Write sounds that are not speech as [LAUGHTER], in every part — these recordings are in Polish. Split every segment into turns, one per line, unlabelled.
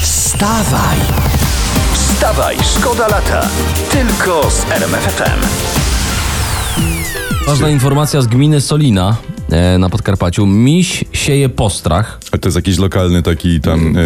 Wstawaj! Wstawaj, szkoda lata. Tylko z RMFFM.
Ważna informacja z gminy Solina e, na Podkarpaciu. Miś sieje postrach.
A to jest jakiś lokalny taki tam y,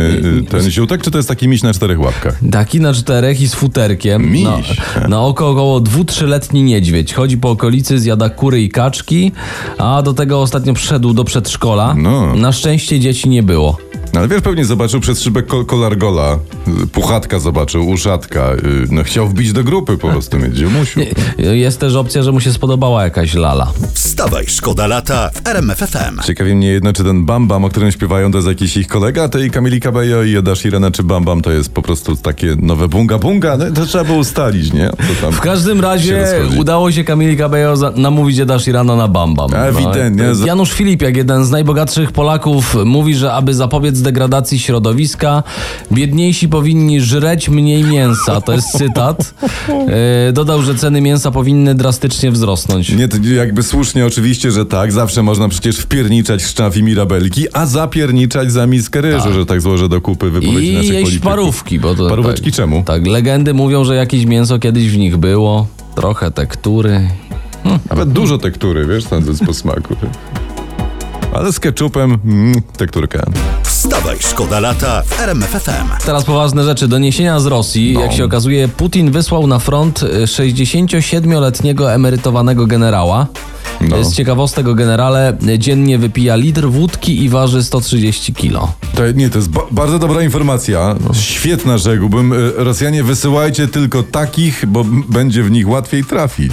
y, ten ziółtek, czy to jest taki miś na czterech łapkach?
Taki na czterech i z futerkiem.
Miś. [LAUGHS]
Na, na oko około dwu-trzyletni niedźwiedź. Chodzi po okolicy, zjada kury i kaczki, a do tego ostatnio przyszedł do przedszkola.
No.
Na szczęście dzieci nie było.
No, ale wiesz, pewnie zobaczył przez szybę kol kolargola, y, puchatka zobaczył, uszatka. y, No chciał wbić do grupy po prostu, mieć ziomusiu.
E, Jest też opcja, że mu się spodobała jakaś lala.
Wstawaj, szkoda lata w RMFFM.
Ciekawi mnie jedno, czy ten Bam Bam, o którym śpiewają, to jest jakiś ich kolega, to i Kamili Cabello i Oda Shirana, czy Bam Bam to jest po prostu takie nowe bunga bunga? No, to trzeba było ustalić, nie? Co tam
W każdym
się
razie
rozchodzi.
udało się Kamili Cabello za- namówić Eda Shirana na Bam Bam.
Ewidentnie.
No, Janusz Filip, jak jeden z najbogatszych Polaków, mówi, że aby zapobiec degradacji środowiska, biedniejsi powinni żreć mniej mięsa. To jest
[LAUGHS]
cytat. E, Dodał, że ceny mięsa powinny drastycznie wzrosnąć.
Nie, to jakby słusznie oczywiście, że tak. Zawsze można przecież wpierniczać szczaw i mirabelki, a zapierniczać za miskę ryżu, że tak złożę do kupy wypowiedzi
I
naszych
jeść
polityków.
parówki. Bo to,
Paróweczki
tak,
czemu?
Tak, legendy mówią, że jakieś mięso kiedyś w nich było. Trochę tektury.
Nawet dużo tektury, wiesz, tam z posmaku. Ale z keczupem mm, tekturka.
Wstawaj, szkoda lata w RMFFM.
Teraz poważne rzeczy. Doniesienia z Rosji. Jak się okazuje, Putin wysłał na front y, 67-letniego emerytowanego generała.
No.
Z ciekawostek o generale y, dziennie wypija litr wódki i waży 130 kilo.
To, nie, to jest ba- bardzo dobra informacja. Świetna rzekłbym. Y, Rosjanie, wysyłajcie tylko takich, bo m- będzie w nich łatwiej trafić.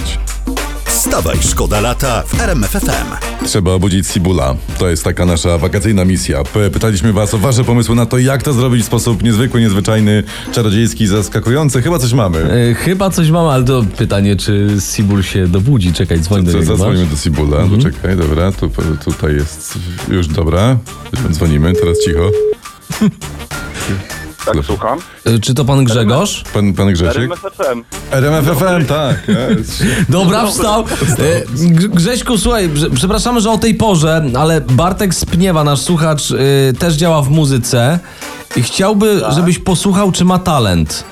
Wstawaj, szkoda lata w RMFFM.
Trzeba obudzić Cibula. To jest taka nasza wakacyjna misja. P- Pytaliśmy was o wasze pomysły na to, jak to zrobić w sposób niezwykły, niezwyczajny, czarodziejski, zaskakujący. Chyba coś mamy.
Y, Chyba coś mam, ale to pytanie, czy Sibul się dobudzi. Czekaj, dzwoń do
Co,
niego.
zadzwonimy do Cibula. Poczekaj, dobra, tu, tutaj jest już dobra. Dzwonimy, teraz cicho.
Tak, słucham.
Y, Czy to pan Grzegorz?
Pan, pan Grzesiek?
RMFFM.
RMFFM, tak. Yes.
Dobra, wstał. E, Grz- Grześku, słuchaj, brze- przepraszamy, że o tej porze, ale Bartek Spniewa, nasz słuchacz, y, też działa w muzyce i chciałby,
Tak.
żebyś posłuchał, czy ma talent.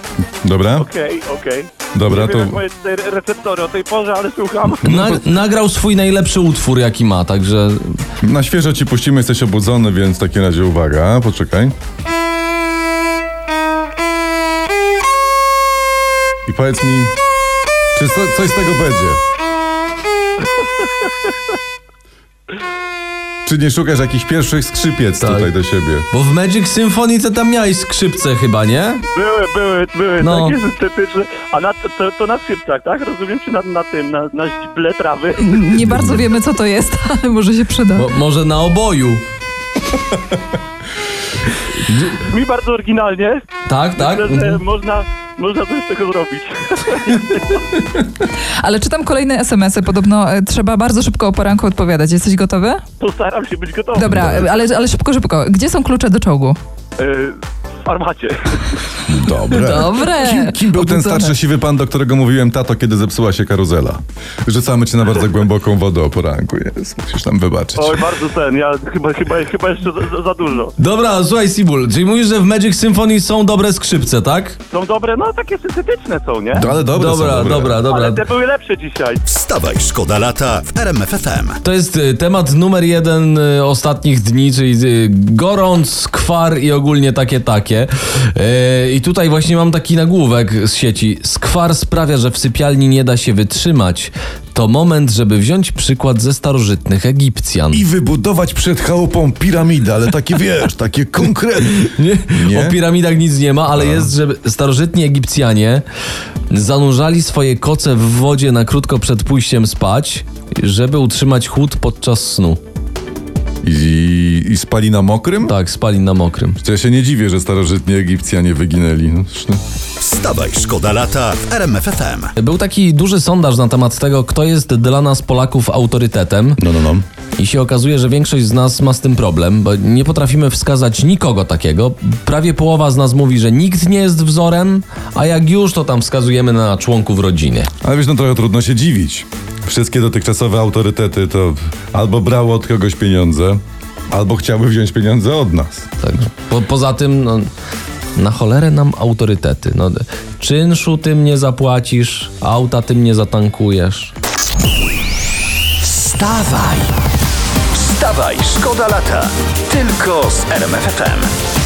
Dobra,
Okej, okej.
dobra,
Nie
to...
wiem, jak moje tutaj re- receptory o tej porze, ale słucham.
Na,
No,
nagrał swój najlepszy utwór, jaki ma, także
Na świeżo ci puścimy, jesteś obudzony, więc w takim razie uwaga, poczekaj. I powiedz mi, czy co, coś z tego będzie? Czy nie szukasz jakichś pierwszych skrzypiec
Tak.
tutaj do siebie?
bo w Magic Symphony to tam miałeś skrzypce chyba, nie?
Były, były, były
No.
takie syntetyczne. A na, to, to na skrzypcach, tak? Rozumiem, czy na, na tym, na, na źble trawy?
Nie bardzo wiemy, co to jest, [LAUGHS] ale może się przyda.
Bo, może na oboju.
Mi bardzo oryginalnie,
Tak, tak?
ale że można, można coś z tego zrobić. [LAUGHS]
Ale czytam kolejne SMS-y. Podobno e, trzeba bardzo szybko o poranku odpowiadać. Jesteś gotowy?
Postaram się być gotowy.
Dobra, e, ale, ale szybko, szybko. Gdzie są klucze do czołgu?
Y, w armacie.
Dobre.
Dobre.
Kim, kim był ten
Obudzone.
starszy siwy pan, do którego mówiłem, tato, kiedy zepsuła się karuzela? Rzucamy cię na bardzo głęboką wodę o poranku. Jest, musisz nam wybaczyć.
Oj, bardzo ten, ja chyba, chyba, chyba jeszcze za, za dużo.
Dobra, słuchaj Sibul, czyli mówisz, że w Magic Symphony są dobre skrzypce, tak?
Są dobre, no takie syntetyczne są, nie?
No, Ale dobre są,
dobra,
dobre.
dobra. dobra.
Ale te były lepsze dzisiaj.
Wstawaj, szkoda lata w RMFFM.
To jest y, temat numer jeden y, ostatnich dni, czyli y, gorąc, kwar i ogólnie takie takie. Y, I tutaj właśnie mam taki nagłówek z sieci. Skwar sprawia, że w sypialni nie da się wytrzymać. To moment, żeby wziąć przykład ze starożytnych Egipcjan. [LAUGHS]
I wybudować przed chałupą piramidę, ale takie wiesz, takie konkretne.
Nie?
Nie?
O piramidach nic nie ma, ale jest, że starożytni Egipcjanie zanurzali swoje koce w wodzie na krótko przed pójściem spać, żeby utrzymać chłód podczas snu.
I, I spali na mokrym?
Tak, spali na mokrym.
To Ja się nie dziwię, że starożytni Egipcjanie wyginęli. No, zresztą-
Wstawaj, szkoda lata w RMFFM.
Był taki duży sondaż na temat tego, kto jest dla nas Polaków autorytetem
No, no, no.
i się okazuje, że większość z nas ma z tym problem, bo nie potrafimy wskazać nikogo takiego. Prawie połowa z nas mówi, że nikt nie jest wzorem, a jak już, to tam wskazujemy na członków rodziny.
Ale wiesz, no trochę trudno się dziwić. Wszystkie dotychczasowe autorytety to albo brało od kogoś pieniądze, albo chciały wziąć pieniądze od nas.
Tak. Po, poza tym, no, na cholerę nam autorytety. No, czynszu tym nie zapłacisz, auta tym nie zatankujesz.
Wstawaj! Wstawaj, szkoda lata! Tylko z RMFFM.